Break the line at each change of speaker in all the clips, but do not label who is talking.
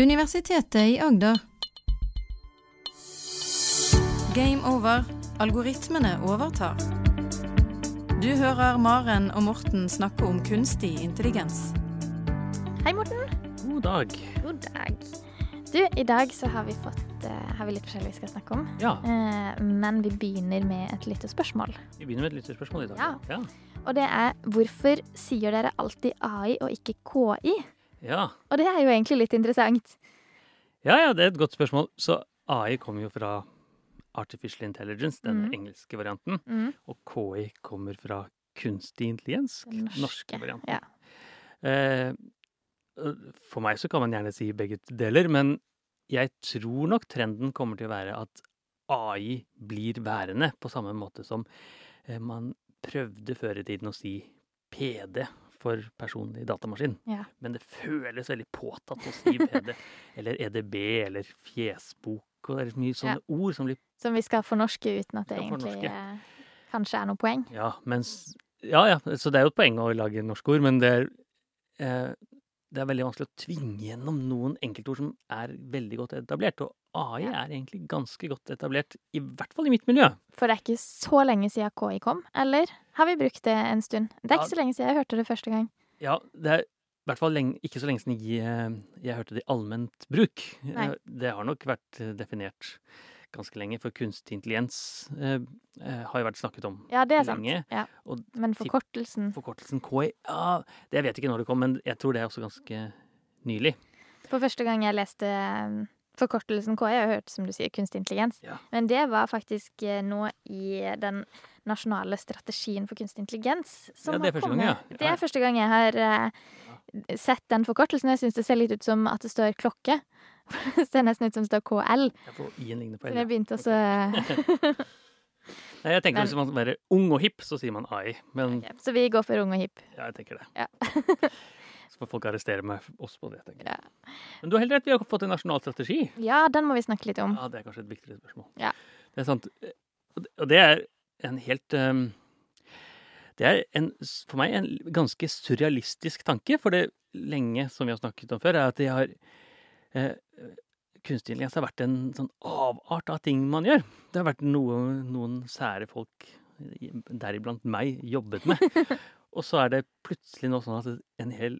Universitetet i Agder. Game over. Algoritmene overtar. Du hører Maren og Morten snakke om kunstig intelligens.
Hei, Morten.
God dag.
God dag. Du, i dag så har vi fått eh, har vi litt forskjellig vi skal snakke om.
Ja,
Eh, men vi begynner med et lite spørsmål.
vi begynner med et lytterspørsmål i dag.
Ja.
Ja.
Og det er hvorfor sier dere alltid AI og ikke KI?
Ja.
Og det er jo egentlig litt interessant.
ja, ja, det er et godt spørsmål. Så AI kommer jo fra Artificial Intelligence, den
Mhm.
engelske varianten.
Mm.
Og KI kommer fra kunstig intelligens,
Den
den norske,
norske,
varianten.
ja.
Eh, for meg så kan man gjerne si begge deler, men jeg tror nok trenden kommer til å være at AI blir værende på samme måte som eh, man prøvde før i tiden å si PD for personlig datamaskin.
Ja.
Men det føles veldig påtatt å si PD, eller EDB, eller fjesbok, og det er mye sånne ord som blir
Som vi skal fornorske uten at det
Skal fornorske.
egentlig eh, kanskje er noe poeng.
Ja, mens, ja, ja, så det er jo et poeng å lage norske ord, men det er, eh, det er veldig vanskelig å tvinge gjennom noen enkeltord som er veldig godt etablert. Og AI
Ja.
er egentlig ganske godt etablert, i hvert fall i mitt miljø.
For det er ikke så lenge siden KI kom, eller har vi brukt det en stund? Det er
Ja.
ikke så lenge siden jeg hørte det første gang.
Ja, det er i hvert fall lenge, ikke så lenge siden jeg, eh, jeg hørte det i allment bruk.
Nei.
Eh, Det har nok vært eh, definert ganske lenge, for kunstig intelligens eh, eh, har jo vært snakket om
Ja, det er sant.
Lenge,
Ja.
og
Men forkortelsen
Forkortelsen KI, ja, det jeg vet ikke når det kom, men jeg tror det er også ganske nylig.
For første gang jeg leste eh, forkortelsen KI, jeg har hørt som du sier kunstig intelligens,
Ja.
men det var faktisk eh, nå i den nasjonale strategien for kunstig intelligens.
Ja, det
har
er første
kommet.
gang, ja.
Det
Ja.
er første gang jeg har eh, sett den forkortelsen. Jeg syns det ser litt ut som at det står klokke. Det ser nesten ut som det står KL.
Jeg får i-en lignende på
Så
L.
jeg begynte også
Nei, jeg tenkte
Men-
hvis man skal være ung og hipp, så sier man AI. Men
Ok, Så vi går for ung og hipp.
ja, jeg tenker det.
Ja.
så får folk arrestere meg også på det. tenker
Ja.
jeg. Men du har helt rett, vi har fått en nasjonal strategi.
Ja, den må vi snakke litt om.
Ja, det er kanskje et viktigere spørsmål.
Mm. Ja.
Det er sant. Og det- Og det er en helt ehm, Det er en, s- for meg en ganske surrealistisk tanke, for det lenge, som vi har snakket om før, er at det har eh, Kunstig intelligens har vært en sånn avart av ting man gjør. Det har vært noe noen sære folk, i- deriblant meg, jobbet med. Og så er det plutselig nå sånn at en hel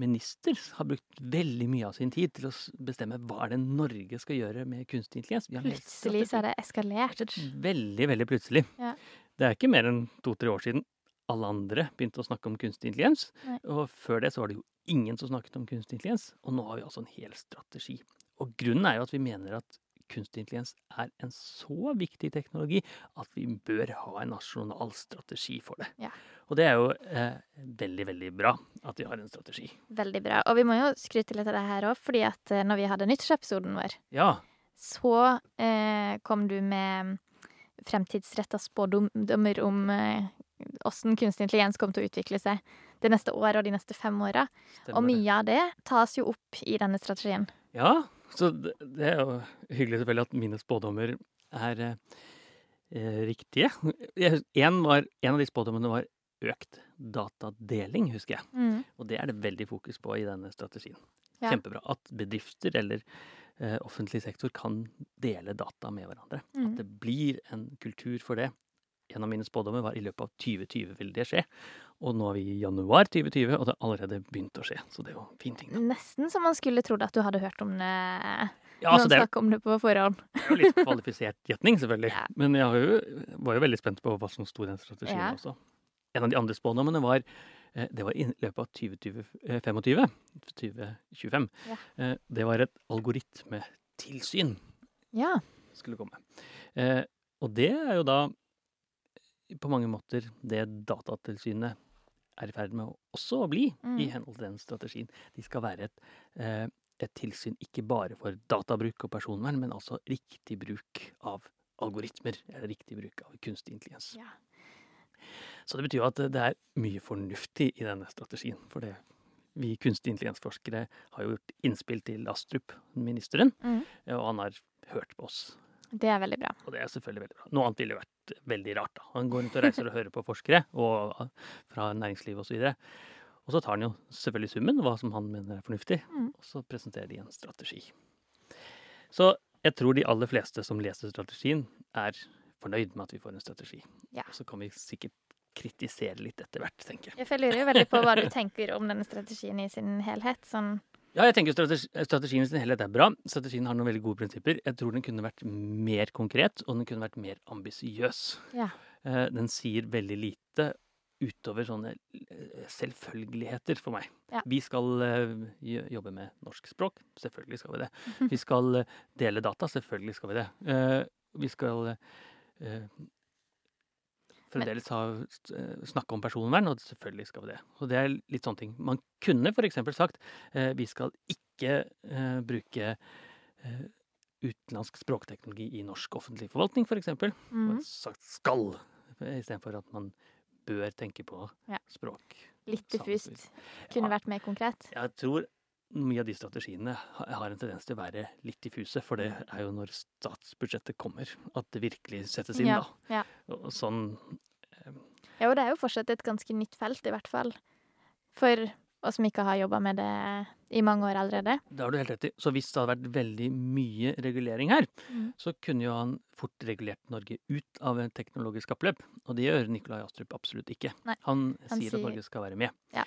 minister har brukt veldig mye av sin tid til å s- bestemme hva er det Norge skal gjøre med kunstig intelligens. Vi har en hel
Plutselig så
strategi.
er det eskalert.
Mm. Veldig, veldig plutselig.
Ja.
Det er ikke mer enn to-tre år siden alle andre begynte å snakke om kunstig intelligens.
Nei.
Og før det så var det jo ingen som snakket om kunstig intelligens. Og nå har vi altså en hel strategi. Og grunnen er jo at vi mener at kunstig intelligens er en så viktig teknologi at vi bør ha en nasjonal strategi for det.
Ja.
Og det er jo eh, veldig, veldig bra at vi har en strategi.
Veldig bra. Og vi må jo skryte litt av det her òg, fordi at eh, når vi hadde nyttårsepisoden vår,
Ja,
så eh, kom du med fremtidsretta spådommer om eh, åssen kunstig intelligens kom til å utvikle seg det neste året og de neste fem åra. Og
stemmer det.
mye av det tas jo opp i denne strategien.
Ja, så det, det er jo hyggelig selvfølgelig at mine spådommer er eh, eh, riktige. Jeg, en, var, en av de spådommene var økt datadeling, husker jeg.
Mm,
Og det er det veldig fokus på i denne strategien.
Ja.
Kjempebra. At bedrifter eller eh, offentlig sektor kan dele data med hverandre.
Mm.
At det blir en kultur for det. En av mine spådommer var i løpet av 2020 vil det skje. Og nå er vi i januar 2020, og det har allerede begynt å skje. Så det er jo en fin ting. da.
Nesten som man skulle trodd at du hadde hørt om det
Ja,
noen
så det er jo
snakke om det på forhånd.
Det er jo litt kvalifisert gjetning, selvfølgelig.
Ja.
Men jeg har jo, var jo veldig spent på hva som sto i den strategien
Ja.
også. En av de andre spådommene var eh, Det var i løpet av 2025. 2025.
Ja.
Eh, Det var et algoritmetilsyn
Ja.
skulle komme. Eh, Og det er jo da på mange måter det Datatilsynet er i ferd med å også å bli, i
Mm.
henhold til den strategien. De skal være et, eh, et tilsyn ikke bare for databruk og personvern, men altså riktig bruk av algoritmer, eller riktig bruk av kunstig intelligens.
Ja.
Så det betyr jo at det er mye fornuftig i denne strategien. For det, vi kunstig intelligensforskere har jo gjort innspill til Astrup, ministeren,
Mm.
og han har hørt på oss
Det er veldig bra.
og det er selvfølgelig veldig bra. Noe annet ville vært veldig rart. da. Han går rundt eh, og reiser og hører på forskere og fra næringslivet osv. Og, så videre. Og så tar han jo selvfølgelig summen, hva som han mener er fornuftig,
Mm.
og så presenterer de en strategi. Så jeg tror de aller fleste som leser strategien, er fornøyd med at vi får en strategi.
Ja.
Og så kan vi sikkert kritisere litt etter hvert, tenker jeg.
Jeg lurer jo veldig på hva du tenker om denne strategien i sin helhet. Sånn,
Ja, jeg tenker strategi, strategien i sin helhet er bra. Strategien har noen veldig gode prinsipper. Jeg tror den kunne vært mer konkret, og den kunne vært mer ambisiøs.
Ja.
Eh, Den sier veldig lite utover sånne eh, selvfølgeligheter for meg.
Ja.
Vi skal eh, jo- jobbe med norsk språk. Selvfølgelig skal vi det. Vi skal eh, dele data. Selvfølgelig skal vi det. Eh, Vi skal eh, eh, fremdeles ha, st- eh, snakke om personvern, og selvfølgelig skal vi det. Og det er litt sånne ting. Man kunne f.eks. sagt eh, vi skal ikke eh, bruke eh, utenlandsk språkteknologi i norsk offentlig forvaltning, f.eks. For
mm,
man sagt skal, istedenfor at man bør tenke på
Ja.
språk.
litt diffust. Kunne
Sånn Ja.
vært mer konkret.
Jeg tror mye av de strategiene ha- har en tendens til å være litt diffuse, for det er jo når statsbudsjettet kommer at det virkelig settes inn,
Ja,
da.
ja.
Og sånn
Ja, og det er jo fortsatt et ganske nytt felt, i hvert fall. For oss som ikke har jobba med det i mange år allerede.
Det har du helt rett i. Så hvis det hadde vært veldig mye regulering her,
Mm.
så kunne jo han fort regulert Norge ut av et teknologisk kappløp. Og det gjør Nikolai Astrup absolutt ikke.
Nei,
han,
han
sier
sier-
at Norge skal være med.
Ja.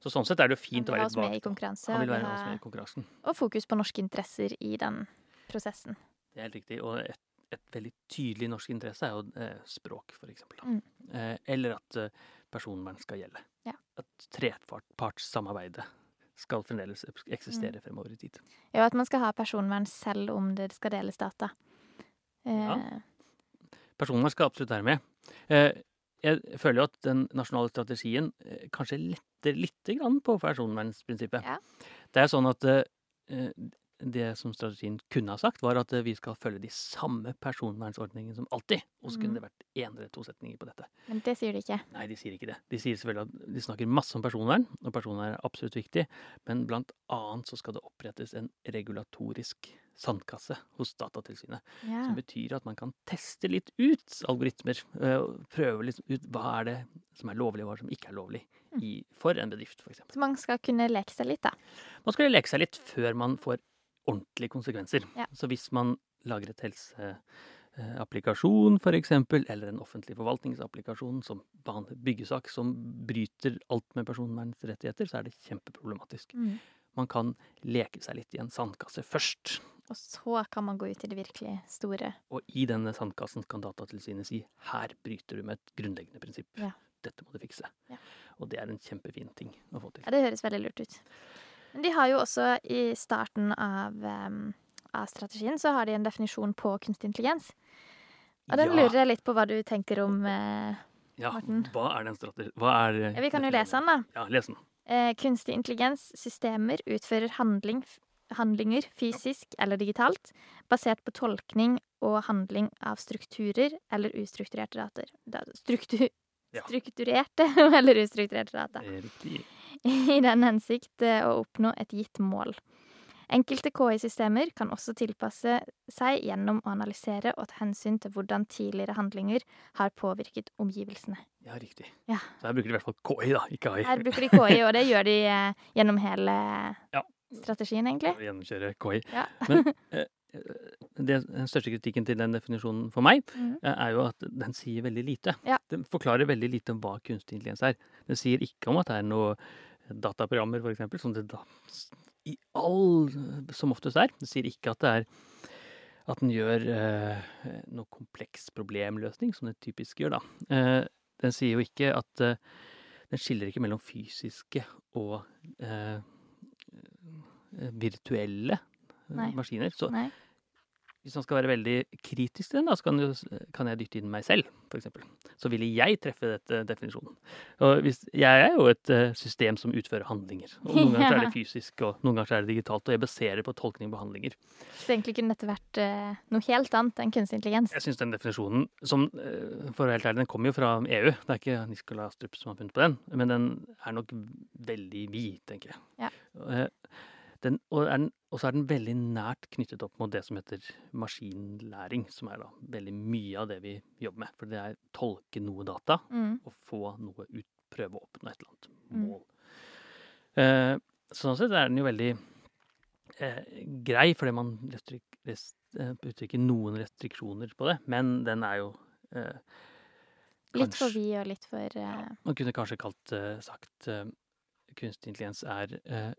Så sånn sett er det jo
Han
fint å
vil ha
være
oss
litt
med i
vagt. da.
konkurranse,
Han
og,
vil
vil
være oss med i
ha,
konkurransen.
og fokus på norske interesser i den prosessen.
Det er helt riktig. Og et, et veldig tydelig norsk interesse er jo eh, språk, for eksempel. da.
Mm.
Eh, eller at eh, personvern skal gjelde.
Ja.
At trepartssamarbeidet skal fremdeles
Mm.
eksistere fremover i tid.
Ja, at man skal ha personvern selv om det skal deles data. Eh,
Ja. Personvern skal absolutt være med. Eh, Jeg føler jo at den nasjonale strategien eh, kanskje letter lite grann på personvernsprinsippet.
Ja.
Det er sånn at eh, eh, det som strategien kunne ha sagt, var at eh, vi skal følge de samme personvernsordningene som alltid. Og så
Mhm.
kunne det vært én eller to setninger på dette.
Men det sier de ikke.
Nei, de sier ikke det. De sier selvfølgelig at de snakker masse om personvern, og personvern er absolutt viktig, men blant annet så skal det opprettes en regulatorisk sandkasse hos Datatilsynet.
Ja.
Som betyr at man kan teste litt ut algoritmer. øh, og Prøve litt ut hva er det som er lovlig, og hva som ikke er lovlig
Mm.
i, for en bedrift, f.eks.
Så man skal kunne leke seg litt, da.
Man skal jo leke seg litt før man får ordentlige konsekvenser.
Ja.
Så hvis man lager et helseapplikasjon f.eks., eller en offentlig forvaltningsapplikasjon som behandler byggesak som bryter alt med personvernrettigheter, så er det kjempeproblematisk.
Mm.
Man kan leke seg litt i en sandkasse først.
Og så kan man gå ut i det virkelig store.
Og i denne sandkassen kan Datatilsynet si her bryter du med et grunnleggende prinsipp.
Ja.
Dette må du fikse.
Ja.
Og det er en kjempefin ting å få til.
Ja, det høres veldig lurt ut. Men de har jo også i starten av, em, av strategien så har de en definisjon på kunstig intelligens. Og den lurer jeg litt på hva du tenker om. Eh,
ja,
Morten.
Hva er den strategi... Hva er
ja, vi kan jo lese den, da.
Ja, les den.
Eh, kunstig intelligens systemer utfører handling, f- handlinger fysisk eller digitalt basert på tolkning og handling av strukturer eller ustrukturerte dater. Da, struktu,
Ja.
Strukturerte eller ustrukturerte data.
Eh, Riktig.
i den hensikt eh, å oppnå et gitt mål. Enkelte KI-systemer kan også tilpasse seg gjennom å analysere og ta hensyn til hvordan tidligere handlinger har påvirket omgivelsene.
Ja, riktig.
Ja.
Så her bruker de i hvert fall KI, da, ikke AI.
Her bruker de KI, og det gjør de eh, gjennom hele
Ja.
strategien, egentlig.
Å Gjennomkjøre KI.
Ja.
Men eh, det, den største kritikken til den definisjonen for meg,
Mhm.
eh, er jo at den sier veldig lite.
Ja.
Den forklarer veldig lite om hva kunstig intelligens er. Den sier ikke om at det er noe dataprogrammer, for eksempel, som det da i all som oftest er. Den sier ikke at det er at den gjør eh, noe kompleks problemløsning, som det typisk gjør, da. Eh, den sier jo ikke at eh, Den skiller ikke mellom fysiske og eh, eh, virtuelle eh,
Nei.
maskiner. Så
Nei.
hvis man skal være veldig kritisk til den, da, så kan, jo, s- kan jeg dytte inn meg selv, f.eks. Så ville jeg treffe dette definisjonen. Og hvis, jeg er jo et eh, system som utfører handlinger. Og noen ganger så er det fysisk, og noen ganger så er det digitalt. Og jeg baserer på tolkning på handlinger.
Så egentlig kunne dette vært eh, noe helt annet enn kunstig intelligens.
Jeg syns den definisjonen, som eh, for å være helt ærlig, den kommer jo fra EU. Det er ikke Nikolai Astrup som har funnet på den, men den er nok veldig vid, tenker jeg.
Ja.
Eh, Den, og er den- og så er den veldig nært knyttet opp mot det som heter maskinlæring, som er da veldig mye av det vi jobber med. For det er tolke noe data
Mm.
og få noe ut, prøve å oppnå et eller annet
Mm.
mål. Eh, sånn sett er den jo veldig eh, grei, fordi man restrik, rest, eh, uttrykker noen restriksjoner på det. Men den er jo eh,
Litt for
kanskje-
vid og litt for eh,
Man kunne kanskje kalt eh, sagt eh, kunstig intelligens er eh,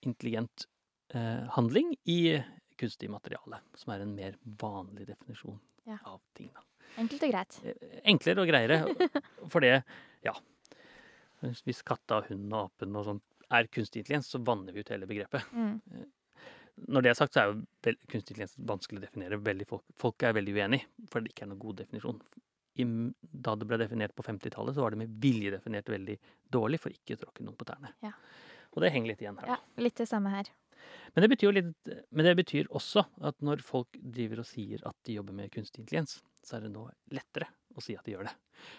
intelligent eh, handling i kunstig materiale, som er en mer vanlig definisjon
Ja.
av ting. Da.
enkelt og greit.
Eh, Enklere og greiere, for det, ja. Hvis- Hvis katta, hunden og apen og sånn er kunstig intelligens, så vanner vi ut hele begrepet.
Mm.
Når det er sagt, så er jo vel- kunstig intelligens vanskelig å definere. Veldig folk, folk er veldig uenig, for det ikke er noen god definisjon. I, m- da det ble definert på 50-tallet, så var det med vilje definert veldig dårlig for ikke å tråkke noen på tærne.
Ja.
Og det henger litt igjen her. da.
Ja, litt det samme her.
Men, det betyr jo litt, men det betyr også at når folk driver og sier at de jobber med kunstig intelligens, så er det nå lettere å si at de gjør det.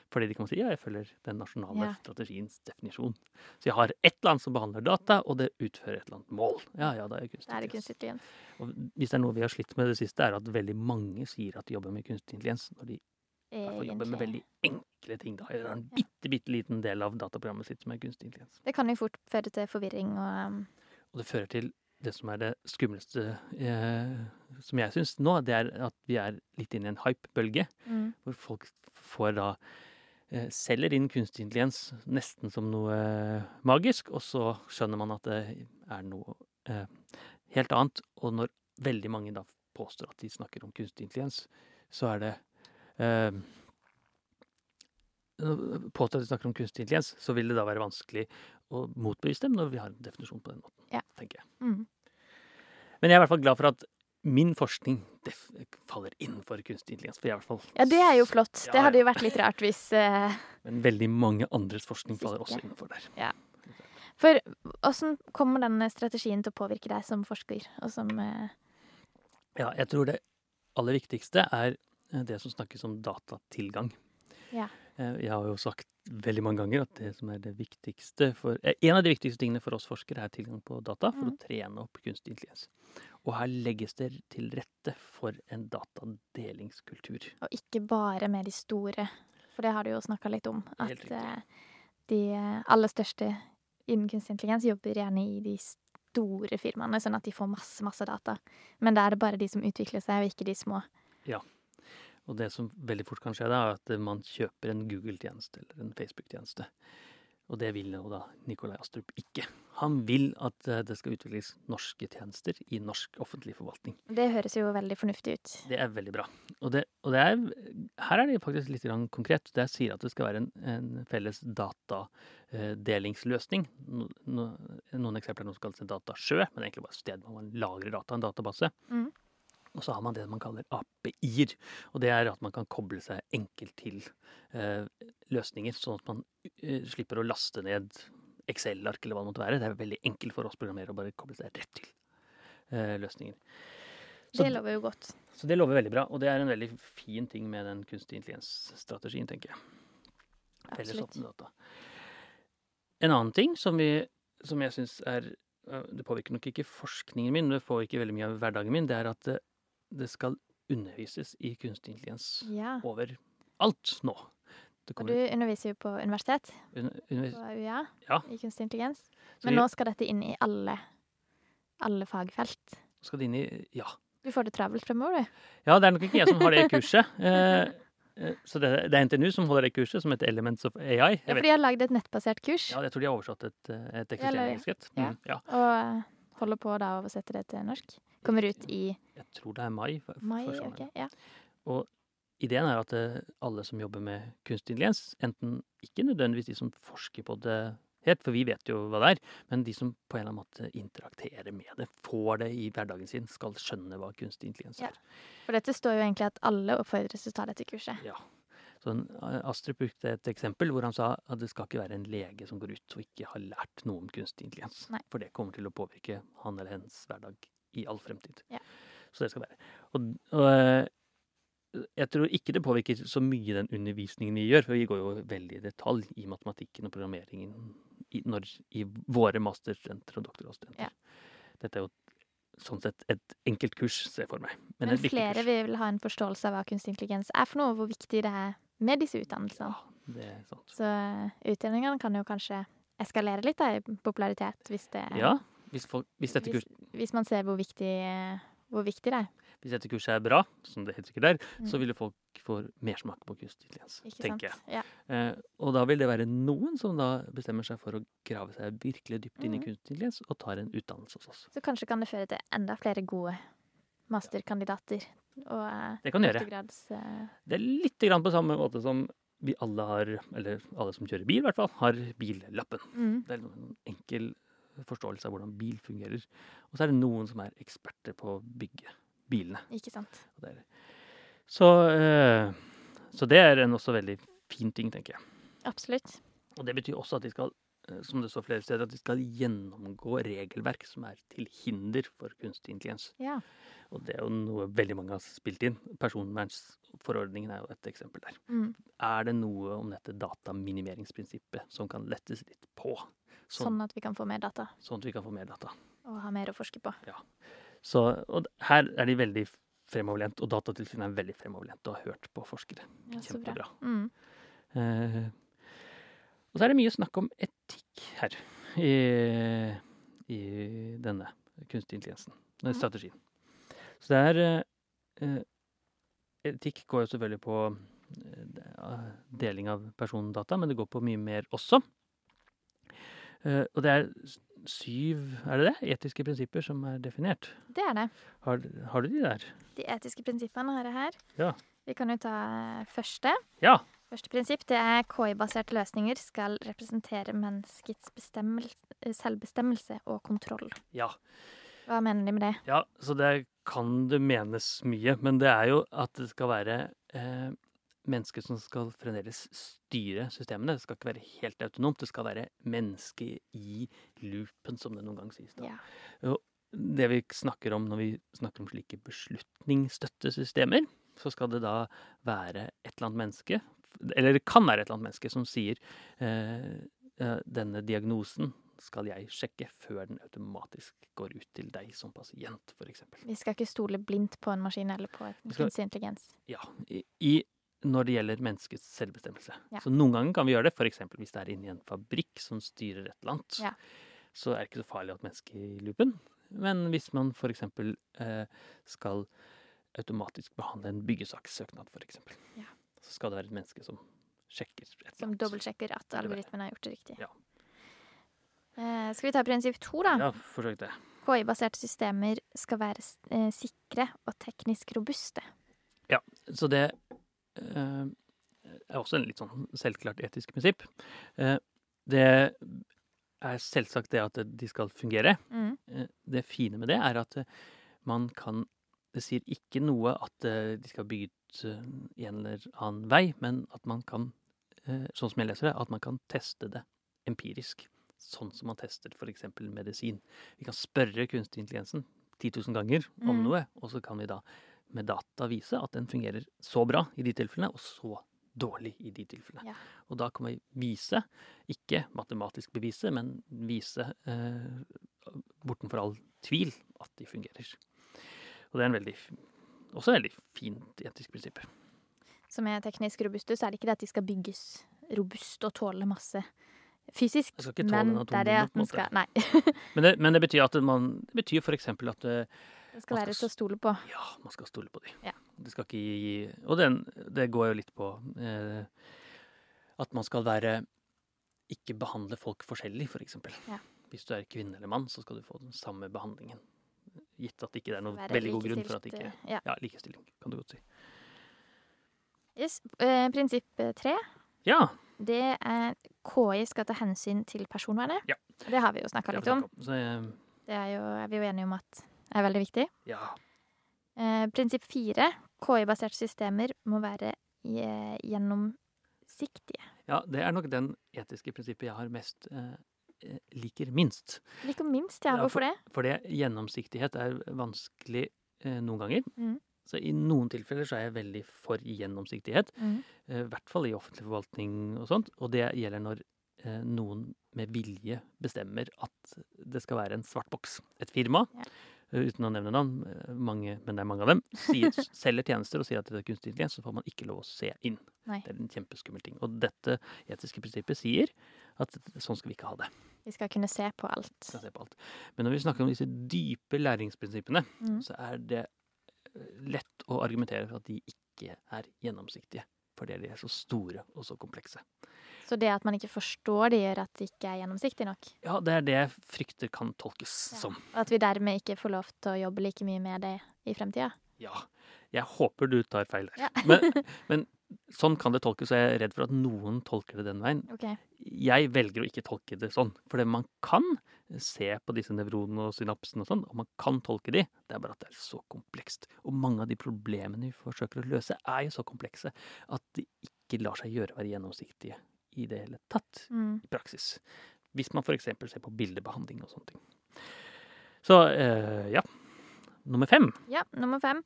Fordi de kan si ja, jeg følger den nasjonale
Ja.
strategiens definisjon. Så jeg har et land som behandler data, og det utfører et eller annet mål. Ja, ja, da er jeg kunstig
Da er det
intelligens.
kunstig intelligens.
Og hvis det er noe vi har slitt med det siste, er at veldig mange sier at de jobber med kunstig intelligens, når de i hvert fall jobber med
Egentlig.
veldig enkle ting. da. Eller en bitte, bitte liten del av dataprogrammet sitt som er kunstig intelligens.
Det kan jo fort føre til forvirring og um,
Og det fører til det som er det skumleste eh, som jeg syns nå, det er at vi er litt inne i en hype-bølge,
mm.
hvor folk får da eh, selger inn kunstig intelligens nesten som noe eh, magisk, og så skjønner man at det er noe eh, helt annet. Og når veldig mange da påstår at de snakker om kunstig intelligens, så er det eh, Påstår at de snakker om kunstig intelligens, så vil det da være vanskelig å motbevise dem når vi har en definisjon på den måten,
Ja.
tenker jeg.
Mm.
Men jeg er i hvert fall glad for at min forskning def faller innenfor kunstig intelligens. For jeg er i hvert fall
Ja, det er jo flott.
Ja,
Det hadde
ja.
jo vært litt rart hvis eh,
Men veldig mange andres forskning
Hvis
faller
ikke.
også innenfor der.
For åssen kommer den strategien til å påvirke deg som forsker, og som eh,
Ja, jeg tror det aller viktigste er eh, det som snakkes om datatilgang.
Ja.
Eh, Jeg har jo sagt veldig mange ganger at det som er det viktigste for eh, En av de viktigste tingene for oss forskere er tilgang på data for
Mhm.
å trene opp kunstig intelligens. Og her legges det til rette for en datadelingskultur.
Og ikke bare med de store, for det har du jo snakka litt om. At
Helt riktig.
eh, de eh, aller største innen kunstig intelligens jobber gjerne i de store firmaene, sånn at de får masse, masse data. Men da er det bare de som utvikler seg, og ikke de små.
Og det som veldig fort kan skje, da, er at eh, man kjøper en Google-tjeneste eller en Facebook-tjeneste. Og det vil jo da Nikolai Astrup ikke. Han vil at eh, det skal utvikles norske tjenester i norsk offentlig forvaltning.
Det høres jo veldig fornuftig ut.
Det er veldig bra. Og, det, og det er, her er det faktisk litt grann konkret. Det sier at det skal være en, en felles datadelingsløsning. No, no, noen eksempler er noe som kalles en datasjø, men egentlig bare et sted hvor man lagrer data, en database.
Mhm.
Og så har man det man kaller API-er. Og det er at man kan koble seg enkelt til eh, løsninger, sånn at man eh, slipper å laste ned Excel-ark eller hva det måtte være. Det er veldig enkelt for oss programmerere å bare koble seg rett til eh, løsninger. Så
Det
d-
lover jo godt.
så det lover veldig bra, og det er en veldig fin ting med den kunstig intelligens-strategien, tenker jeg. Felles
Absolutt.
åpne data. En annen ting som, vi, som jeg syns er øh, Det påvirker nok ikke forskningen min, men det påvirker veldig mye av hverdagen min, det er at det, det skal undervises i kunstig intelligens
Ja.
overalt nå.
Og du
Det kommer
underviser jo på universitet,
un- under,
på UiA,
Ja.
i kunstig intelligens.
så
Men
vi
nå skal dette inn i alle, alle fagfelt.
skal det inn i Ja.
Du får det travelt fremover, du.
Ja, det er nok ikke jeg som har det kurset. Eh, eh, så det, det er NTNU som holder det kurset, som heter Elements of AI. Jeg
Ja,
vet
for de har lagd et nettbasert kurs,
Ja, jeg tror de har oversatt et, eh, et
Eller-
eksisterende skrift.
ja.
Mm, ja.
og eh, holder på da å oversette det til norsk. Kommer ut i
Jeg tror det er mai. f- f-
mai,
for sommeren.
ok? Ja.
Ideen er at eh, alle som jobber med kunstig intelligens, enten ikke nødvendigvis de som forsker på det helt, for vi vet jo hva det er, men de som på en eller annen måte interakterer med det, får det i hverdagen sin, skal skjønne hva kunstig intelligens
Ja.
er.
For dette står jo egentlig at alle oppfordres til å ta dette kurset.
Ja. Så en- eh, Astrup brukte et eksempel hvor han sa at det skal ikke være en lege som går ut og ikke har lært noe om kunstig intelligens.
Nei.
For det kommer til å påvirke han eller hennes hverdag i all fremtid.
Ja.
Så det skal være. Og, og eh, jeg tror ikke det påvirker så mye den undervisningen vi gjør, for vi går jo veldig i detalj i matematikken og programmeringen i, når, i våre masterstudenter og doktorgradsstudenter.
Ja.
Dette er jo sånn sett et enkelt kurs, ser jeg for meg.
Men
Men, et viktig
flere
kurs.
vil ha en forståelse av hva kunstig intelligens er for noe, og hvor
Ah,
viktig det er med disse utdannelsene.
Ja, det er sant.
Så eh, utdanningene kan jo kanskje eskalere litt da, i popularitet, hvis, det,
Ja, hvis, folk, hvis, dette
hvis,
kurs,
hvis man ser hvor viktig, eh, hvor viktig det er.
hvis dette kurset er bra, som det helt sikkert er, så
Mm.
ville folk få mersmak på kunstig intelligens,
Ikke sant?
tenker jeg.
Ja.
Eh, og da vil det være noen som da bestemmer seg for å grave seg virkelig dypt inn i
Mhm.
kunstig intelligens og tar en utdannelse hos oss.
Så kanskje kan det føre til enda flere gode masterkandidater. Og eh,
Det kan du gjøre.
doktorgrads... eh,
Det er litt grann på samme måte som vi alle har, eller alle som kjører bil i hvert fall, har billappen.
mm.
Det er en enkel forståelse av hvordan bil fungerer. Og så er det noen som er eksperter på å bygge bilene.
Ikke sant.
Og det er- Så, eh, så det er en også veldig fin ting, tenker jeg.
Absolutt.
Og det betyr også at de skal, eh, som det står flere steder, at de skal gjennomgå regelverk som er til hinder for kunstig intelligens.
Ja.
Og det er jo noe veldig mange har spilt inn. Personvernsforordningen er jo et eksempel der.
Mm.
Er det noe om dette dataminimeringsprinsippet som kan lettes litt på? Sånn,
Sånn at vi kan få mer data
sånn at vi kan få mer data.
og ha mer å forske på.
Så, og d- her er de veldig fremoverlent, og Datatilsynet er veldig fremoverlent og har hørt på forskere.
Ja, så bra.
Kjempebra.
Mm.
Eh, og så er det mye snakk om etikk her i, i denne kunstig intelligensen, nei,
Mhm.
strategien. Så det er eh, eh, Etikk går jo selvfølgelig på eh, det er deling av persondata, men det går på mye mer også. Eh, og det er s- syv, er det det? Etiske prinsipper som er definert.
Det er det.
Har, har du de der?
De etiske prinsippene har jeg her.
Ja.
Vi kan jo ta eh, første.
Ja.
Første prinsipp det er KI-baserte løsninger skal representere menneskets bestemmel- eh, selvbestemmelse og kontroll.
Ja.
Hva mener de med det?
Ja, så det kan det menes mye, men det er jo at det skal være eh, mennesker som skal fremdeles styre systemene. Det skal ikke være helt autonomt, det skal være menneske i loopen, som det noen gang sies. Da.
Ja.
Det vi snakker om når vi snakker om slike beslutningsstøttesystemer, så skal det da være et eller annet menneske, eller det kan være et eller annet menneske som sier eh, eh, denne diagnosen skal jeg sjekke før den automatisk går ut til deg som pasient, f.eks.
Vi skal ikke stole blindt på en maskin eller på
Vi skal-
kunstig intelligens.
Ja, i, i når det gjelder menneskets selvbestemmelse.
Ja.
Så noen ganger kan vi gjøre det, f.eks. hvis det er inni en fabrikk som styrer et eller annet.
Ja.
Så er det ikke så farlig å ha et menneske i loopen. Men hvis man f.eks. Eh, skal automatisk behandle en byggesakssøknad, f.eks.,
Ja.
så skal det være et menneske som sjekker et eller
Som
annet.
dobbeltsjekker at
det er det.
algoritmen har gjort det riktig.
Ja.
Eh, skal vi ta prinsipp to, da?
Ja, forsøk det.
KI-baserte systemer skal være s- eh, sikre og teknisk robuste.
Så det eh, er også en litt sånn selvklart etisk prinsipp. Eh, det er selvsagt det at de skal fungere.
Mm.
Eh, det fine med det er at eh, man kan Det sier ikke noe at eh, de skal bygge ut eh, en eller annen vei, men at man kan, eh, sånn som jeg leser det, at man kan teste det empirisk. Sånn som man tester f.eks. medisin. Vi kan spørre kunstig intelligensen 10 000 ganger om
Mm.
noe, og så kan vi da med data vise at den fungerer så bra i de tilfellene, og så dårlig i de tilfellene.
Ja.
Og da kan vi vise, ikke matematisk bevise, men vise eh, bortenfor all tvil at de fungerer. Og det er en veldig, også veldig fint etisk prinsipp.
Som er teknisk robuste, så er det ikke det at de skal bygges robust og tåle masse fysisk.
Jeg skal ikke tåle
men
en
det er det at
atombombe, på en
den
måte.
skal Nei.
Men det, men det betyr at man, det betyr for eksempel at eh,
Den skal
Man
være
skal
til å stole på.
ja, man skal stole på dem.
Ja.
Det skal ikke gi, og den, det går jo litt på eh, at man skal være, ikke behandle folk forskjellig, for eksempel.
Ja.
Hvis du er kvinne eller mann, så skal du få den samme behandlingen. Gitt at det ikke er noen
Være
veldig god grunn for at det
likestilt,
ikke,
eh, ja.
ja, likestilling, kan du godt si.
yes. eh, Prinsipp eh, tre,
Ja,
det er KI skal ta hensyn til personvernet.
Ja.
Det har vi jo
det
snakka
har vi
litt om.
snakket om. Så, eh,
Det er, jo, er vi jo enige om at er veldig viktig.
ja,
Eh, prinsipp fire, KI-baserte systemer må være eh, gjennomsiktige.
Ja, det er nok den etiske prinsippet jeg har mest eh, eh, liker minst.
Ikke minst, ja.
Ja, for-
Hvorfor det?
Fordi gjennomsiktighet er vanskelig eh, noen ganger.
Mhm.
Så i noen tilfeller så er jeg veldig for gjennomsiktighet.
Mhm.
eh, I hvert fall i offentlig forvaltning og sånt. Og det gjelder når eh, noen med vilje bestemmer at det skal være en svart boks. Et firma,
Ja.
eh, uten å nevne navn, eh, mange, men det er mange av dem, sier, selger tjenester og sier at det er kunstig intelligens, så får man ikke lov å se inn.
Nei.
Det er en kjempeskummel ting. Og dette etiske prinsippet sier At sånn skal vi ikke ha det.
Vi skal kunne se på alt.
Vi skal se på alt. Men når vi snakker om disse dype læringsprinsippene,
Mm.
så er det eh, lett å argumentere for at de ikke er gjennomsiktige. Fordi de er så store og så komplekse.
Så det at man ikke forstår det, gjør at det ikke er gjennomsiktig nok.
Ja, det er det jeg frykter kan tolkes
Ja.
som.
Og at vi dermed ikke får lov til å jobbe like mye med det i fremtida.
Ja. Jeg håper du tar feil der.
Ja.
Men, men sånn kan det tolkes, og jeg er redd for at noen tolker det den veien.
Ok.
Jeg velger å ikke tolke det sånn. For man kan se på disse nevronene og synapsene og sånn, og man kan tolke de. Det er bare at det er så komplekst. Og mange av de problemene vi forsøker å løse, er jo så komplekse at de ikke lar seg gjøre å være gjennomsiktige i det hele tatt
Mm.
i praksis. Hvis man f.eks. ser på bildebehandling og sånne ting. Så eh, ja. Nummer fem.
Ja, nummer fem.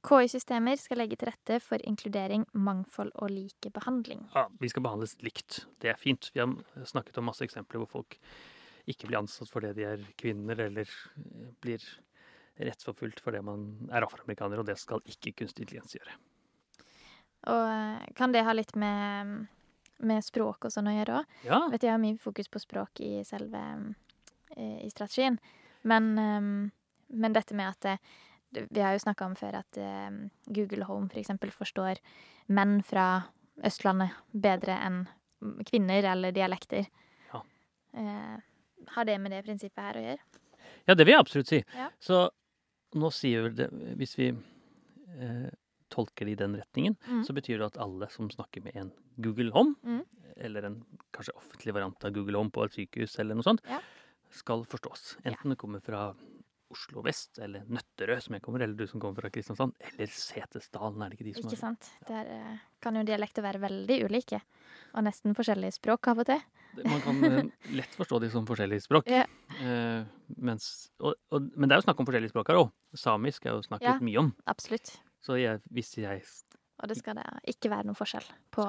KI-systemer skal legge til rette for inkludering, mangfold og likebehandling.
ja, vi skal behandles likt. Det er fint. Vi har snakket om masse eksempler hvor folk ikke blir ansatt fordi de er kvinner, eller eh, blir rettsforfulgt fordi man er afroamerikaner, og det skal ikke kunstig intelligens gjøre.
Og eh, kan det ha litt med, med språk og sånn å gjøre òg?
Ja,
Vet du, jeg har mye fokus på språk i selve eh, i strategien. Men, eh, men dette med at eh, det, Vi har jo snakka om før at eh, Google Home f.eks. For eksempel forstår menn fra Østlandet bedre enn kvinner eller dialekter.
Ja.
Eh, har det med det prinsippet her å gjøre?
ja det vil jeg absolutt si.
Ja.
Så nå sier vi det Hvis vi eh, tolker det i den retningen,
Mm.
så betyr det at alle som snakker med en Google Home,
Mm.
eller en kanskje offentlig variant av Google Home på et sykehus eller noe sånt,
Ja.
skal forstås. Enten det kommer fra Oslo vest, eller Nøtterøy, som jeg kommer, eller du som kommer fra Kristiansand, eller Setesdalen, er det ikke de som
Ikke sant? Der eh, kan jo dialekter være veldig ulike, og nesten forskjellige språk av og til.
er Man kan eh, lett forstå de som forskjellige språk.
Ja.
Eh, mens, og, og, men det er jo snakk om forskjellige språk her òg. Samisk er jo snakket
Ja.
mye om.
Absolutt.
Så jeg, hvis jeg,
Og det skal da ikke være noen forskjell på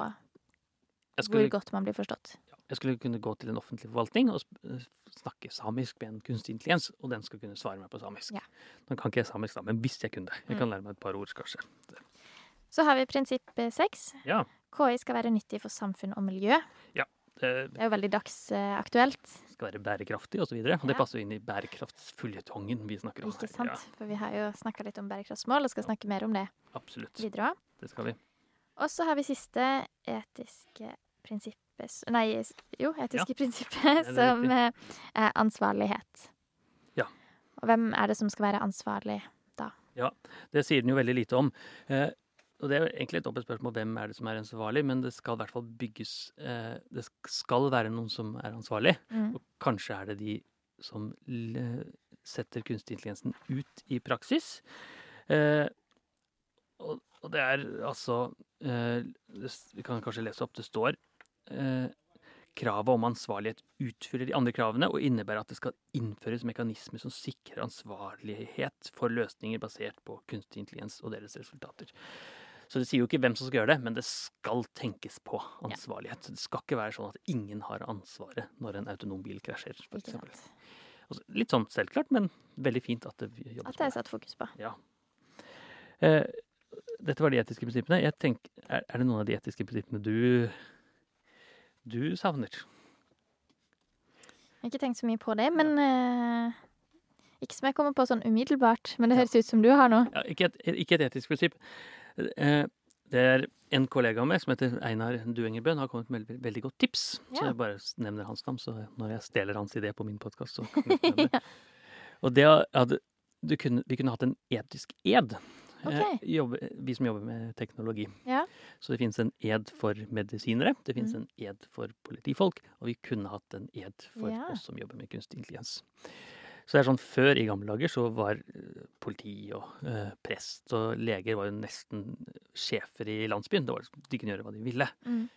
hvor
jeg skulle
godt man blir forstått.
jeg skulle kunne gå til en offentlig forvaltning og sp- eh, snakke samisk med en kunstig intelligens, og den skal kunne svare meg på samisk.
Ja. Mm.
Nå kan ikke jeg samisk, da, men hvis jeg kunne det. Jeg kan lære meg et par ord, kanskje.
Så har vi prinsipp eh, seks.
Ja.
KI skal være nyttig for samfunn og miljø.
Det
Det er jo veldig dagsaktuelt,
skal være bærekraftig, osv. Og, så videre, og
Ja.
det passer jo inn i bærekraftsføljetongen vi snakker om
ikke
her.
sant? For vi har jo snakka litt om bærekraftsmål, og skal snakke mer om det
Ja, absolutt.
videre òg.
Det skal vi.
Og så har vi siste etiske prinsippet s- Nei, s- jo, etiske prinsippet,
det er
som
riktig.
eh, er ansvarlighet.
Ja.
Og hvem er det som skal være ansvarlig?
Det sier den jo veldig lite om. Eh, og det er jo egentlig et åpent spørsmål hvem er det som er ansvarlig, men det skal i hvert fall bygges eh, Det sk- skal være noen som er ansvarlig,
Mm.
og kanskje er det de som l- setter kunstig intelligensen ut i praksis. Eh, og, og det er altså eh, det, s- Vi kan kanskje lese opp. Det står eh, Kravet om ansvarlighet utfyller de andre kravene og innebærer at det skal innføres mekanismer som sikrer ansvarlighet for løsninger basert på kunstig intelligens og deres resultater. Så det sier jo ikke hvem som skal gjøre det, men det skal tenkes på ansvarlighet. Det skal ikke være sånn at ingen har ansvaret når en autonom bil krasjer,
Ikke
f.eks.
sant?
Litt sånn selvklart, men veldig fint at det jobbes
At
med
det er satt fokus på.
Eh, dette var de etiske prinsippene. Jeg tenk- er, er det noen av de etiske prinsippene du, du savner?
Jeg har ikke tenkt så mye på det, men eh, Ikke som jeg kommer på sånn umiddelbart, men det høres ut som du har nå.
Ja, ikke, et, ikke et etisk prinsipp. Eh, det er en kollega av meg som heter Einar Duengerbøen, har kommet med veldig, veldig godt tips. Så
Ja.
jeg bare s- nevner hans navn, så når jeg stjeler hans idé på min podkast, så kan du ikke nevne det. Og det hadde, du kunne, vi kunne hatt en etisk ed.
Ok.
Eh, jobbe, vi som jobber med teknologi.
Ja.
Så det finnes en ed for medisinere, det finnes
Mm.
en ed for politifolk, og vi kunne hatt en ed for
Ja.
oss som jobber med kunstig intelligens. Så det er sånn, Før i gamle dager så var eh, politi og eh, prest og leger var jo nesten eh, sjefer i landsbyen. Det var, liksom- de kunne gjøre hva de ville.
Mm.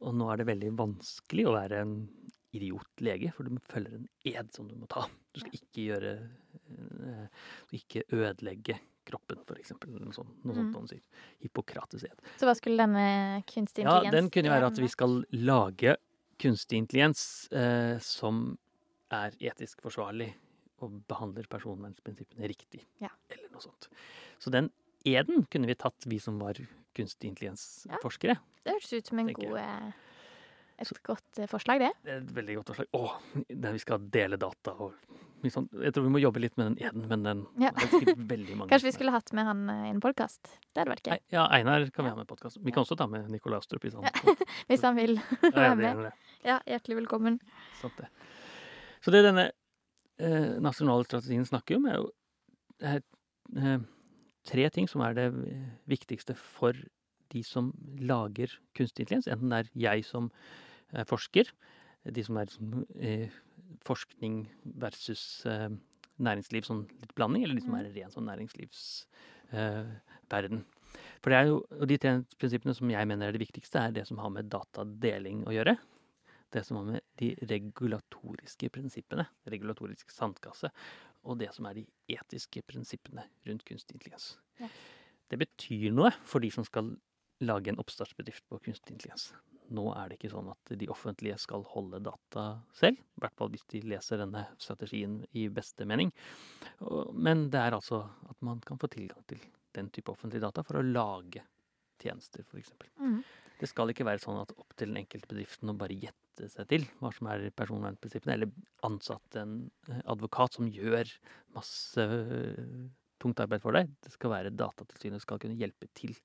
Og nå er det veldig vanskelig å være en idiot lege, for du følger en ed som du må ta. Du skal ikke gjøre eh, Du skal ikke ødelegge kroppen, for eksempel. Noe sånt, noe sånt
Mm.
man sier. Hippokrates ed.
Så hva skulle denne kunstig
Ja,
intelligens
den kunne jo være at
gjøre
vi skal lage kunstig intelligens eh, som er etisk forsvarlig og behandler personvernprinsippene riktig.
Ja.
Eller noe sånt. Så den eden kunne vi tatt, vi som var kunstig
Ja.
intelligensforskere.
med? Det hørtes ut som en
tenker
god eh, Et godt eh, forslag, det.
Det er et veldig godt forslag. Å, der vi skal dele data og mye sånn. Jeg tror vi må jobbe litt med den eden, men den
Ja.
er sikkert veldig mange.
Kanskje vi skulle hatt med han eh, i en podkast. Det hadde vært
Nei,
gøy.
Ja, Einar kan vi ha med i podkast. Vi kan også ta med Nikolai Astrup. Hvis han
Hvis han vil
Ja,
være
det er
med.
det.
Ja, hjertelig velkommen.
Sant det. Så det denne eh, nasjonale strategien snakker om, er jo er, eh, tre ting som er det eh, viktigste for de som lager kunstig intelligens. Enten det er jeg som er forsker, de som er som, eh, forskning versus eh, næringsliv, sånn litt blanding, eller de som
Mhm.
er ren sånn næringslivsverden. verden. For det er jo, og de tre prinsippene som jeg mener er det viktigste, er det som har med datadeling å gjøre det som har med de regulatoriske prinsippene, regulatorisk sandkasse, og det som er de etiske prinsippene rundt kunstig intelligens.
Ja.
Det betyr noe for de som skal lage en oppstartsbedrift på kunstig intelligens. Nå er det ikke sånn at de offentlige skal holde data selv, i hvert fall hvis de leser denne strategien i beste mening. Og- Men det er altså at man kan få tilgang til den type offentlige data for å lage tjenester, f.eks.
Mm.
Det skal ikke være sånn at opp til den enkelte bedriften å bare gjette seg til hva som er personvernprinsippene, eller ansatte en eh, advokat som gjør masse eh, tungt arbeid for deg. Det skal være Datatilsynet skal kunne hjelpe til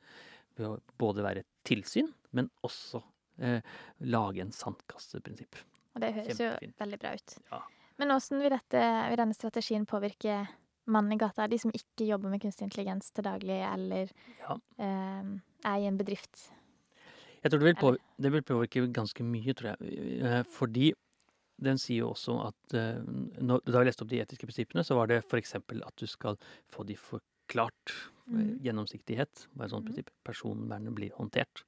ved å både være et tilsyn, men også eh, lage en sandkasseprinsipp.
Og det høres jo
Kjempefint.
veldig bra ut.
Ja.
Men hvordan vil, dette, vil denne strategien påvirke mannen i gata, de som ikke jobber med kunstig intelligens til daglig, eller
Ja.
eh, er i en bedrift?
Jeg tror det vil, påvirke, det vil påvirke ganske mye, tror jeg. Eh, Fordi den sier jo også at eh, når, Da jeg leste opp de etiske prinsippene, så var det f.eks. at du skal få de forklart. eh,
Mhm.
Gjennomsiktighet var et sånt
Mhm.
prinsipp. Personvernet blir håndtert.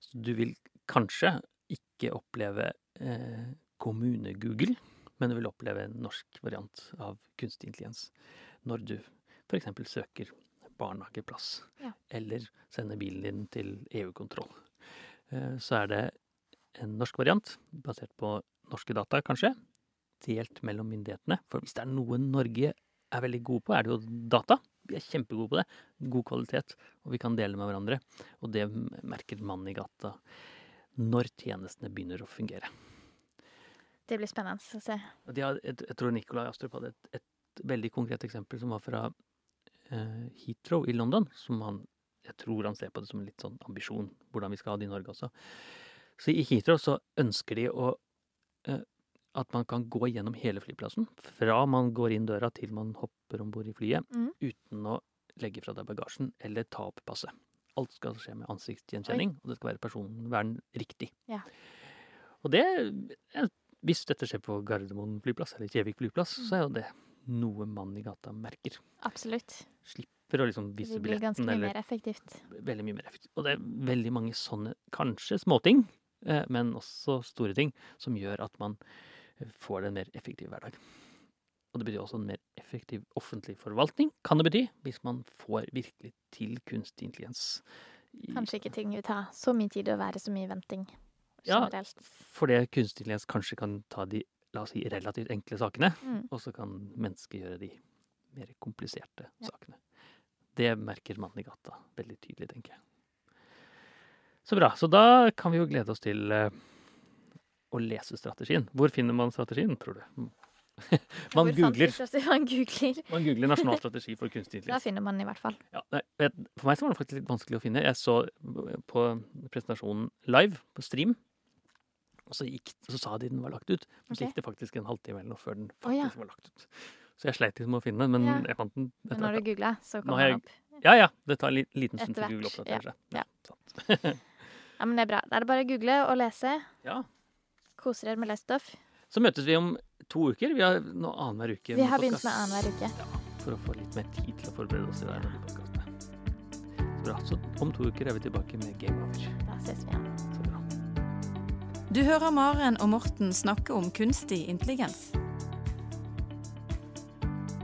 Så du vil kanskje ikke oppleve eh, kommune-Google, men du vil oppleve en norsk variant av kunstig intelligens når du f.eks. søker barnehageplass,
Ja.
eller sender bilen din til EU-kontroll. Eh, Så er det en norsk variant, basert på norske data, kanskje, delt mellom myndighetene. For hvis det er noe Norge er veldig gode på, er det jo data. Vi er kjempegode på det. God kvalitet, og vi kan dele med hverandre. Og det merker mannen i gata når tjenestene begynner å fungere.
Det blir spennende å se.
Og De har, jeg, jeg tror Nikolai Astrup hadde et, et veldig konkret eksempel som var fra eh, Heathrow i London. Som han Jeg tror han ser på det som en litt sånn ambisjon, hvordan vi skal ha det i Norge også. Så i Heathrow så ønsker de å eh, at man kan gå gjennom hele flyplassen. Fra man går inn døra til man hopper om bord i flyet,
Mhm.
uten å legge fra deg bagasjen eller ta opp passet. Alt skal skje med ansiktsgjenkjenning, og det skal være personvern riktig.
Ja.
Og det eh, Hvis dette skjer på Gardermoen flyplass eller Kjevik flyplass, så
Mm.
er jo det noe mannen i gata merker.
Absolutt.
For å liksom
Det
vise
blir ganske
billetten
mye
eller
mer effektivt.
veldig mye mer effektivt. Og det er veldig mange sånne, kanskje småting, eh, men også store ting, som gjør at man eh, får en mer effektiv hverdag. Og det betyr også en mer effektiv offentlig forvaltning, kan det bety, hvis man får virkelig til kunstig intelligens. i-
Kanskje ikke ting vil ta så mye tid og være så mye venting
Ja.
generelt.
Fordi kunstig intelligens kanskje kan ta de la oss si, relativt enkle sakene,
Mm.
og så kan mennesket gjøre de mer kompliserte
Ja.
sakene. Det merker mannen i gata veldig tydelig, tenker jeg. Så bra. Så da kan vi jo glede oss til eh, å lese strategien. Hvor finner man strategien, tror du? man,
Hvor sant
googler,
det står- Man googler.
man googler 'nasjonal strategi for kunstig
Da
intelligens'.
finner man i hvert fall.
Ja, nei, vet, for meg så var det faktisk litt vanskelig å finne. Jeg så eh, på presentasjonen live, på stream, og så, gikk, så sa de den var lagt ut. Men så
Ok.
gikk det faktisk en halvtime eller noe før den
Å, ja.
faktisk var lagt ut. Så jeg sleit litt med å finne den, men
Ja.
jeg fant den.
Men
etter
når
hvert.
du googler, så
Nå
kommer
har
man
jeg-
opp.
Ja, ja. Det tar en li- liten stund
Etter
til Google
hvert, ja.
oppdaterer seg.
Ja, men det er bra. Da er det bare å google og lese.
Ja.
Koser dere med lest stoff.
Så møtes vi om to uker. Vi har nå annenhver uke.
Vi har begynt
podcast,
med annenhver uke.
For å få litt mer tid til å forberede oss til det her. med podcastene. Så bra. Så om to uker er vi tilbake med Game Over.
Da ses vi igjen.
Så bra.
Du hører Maren og Morten snakke om kunstig intelligens.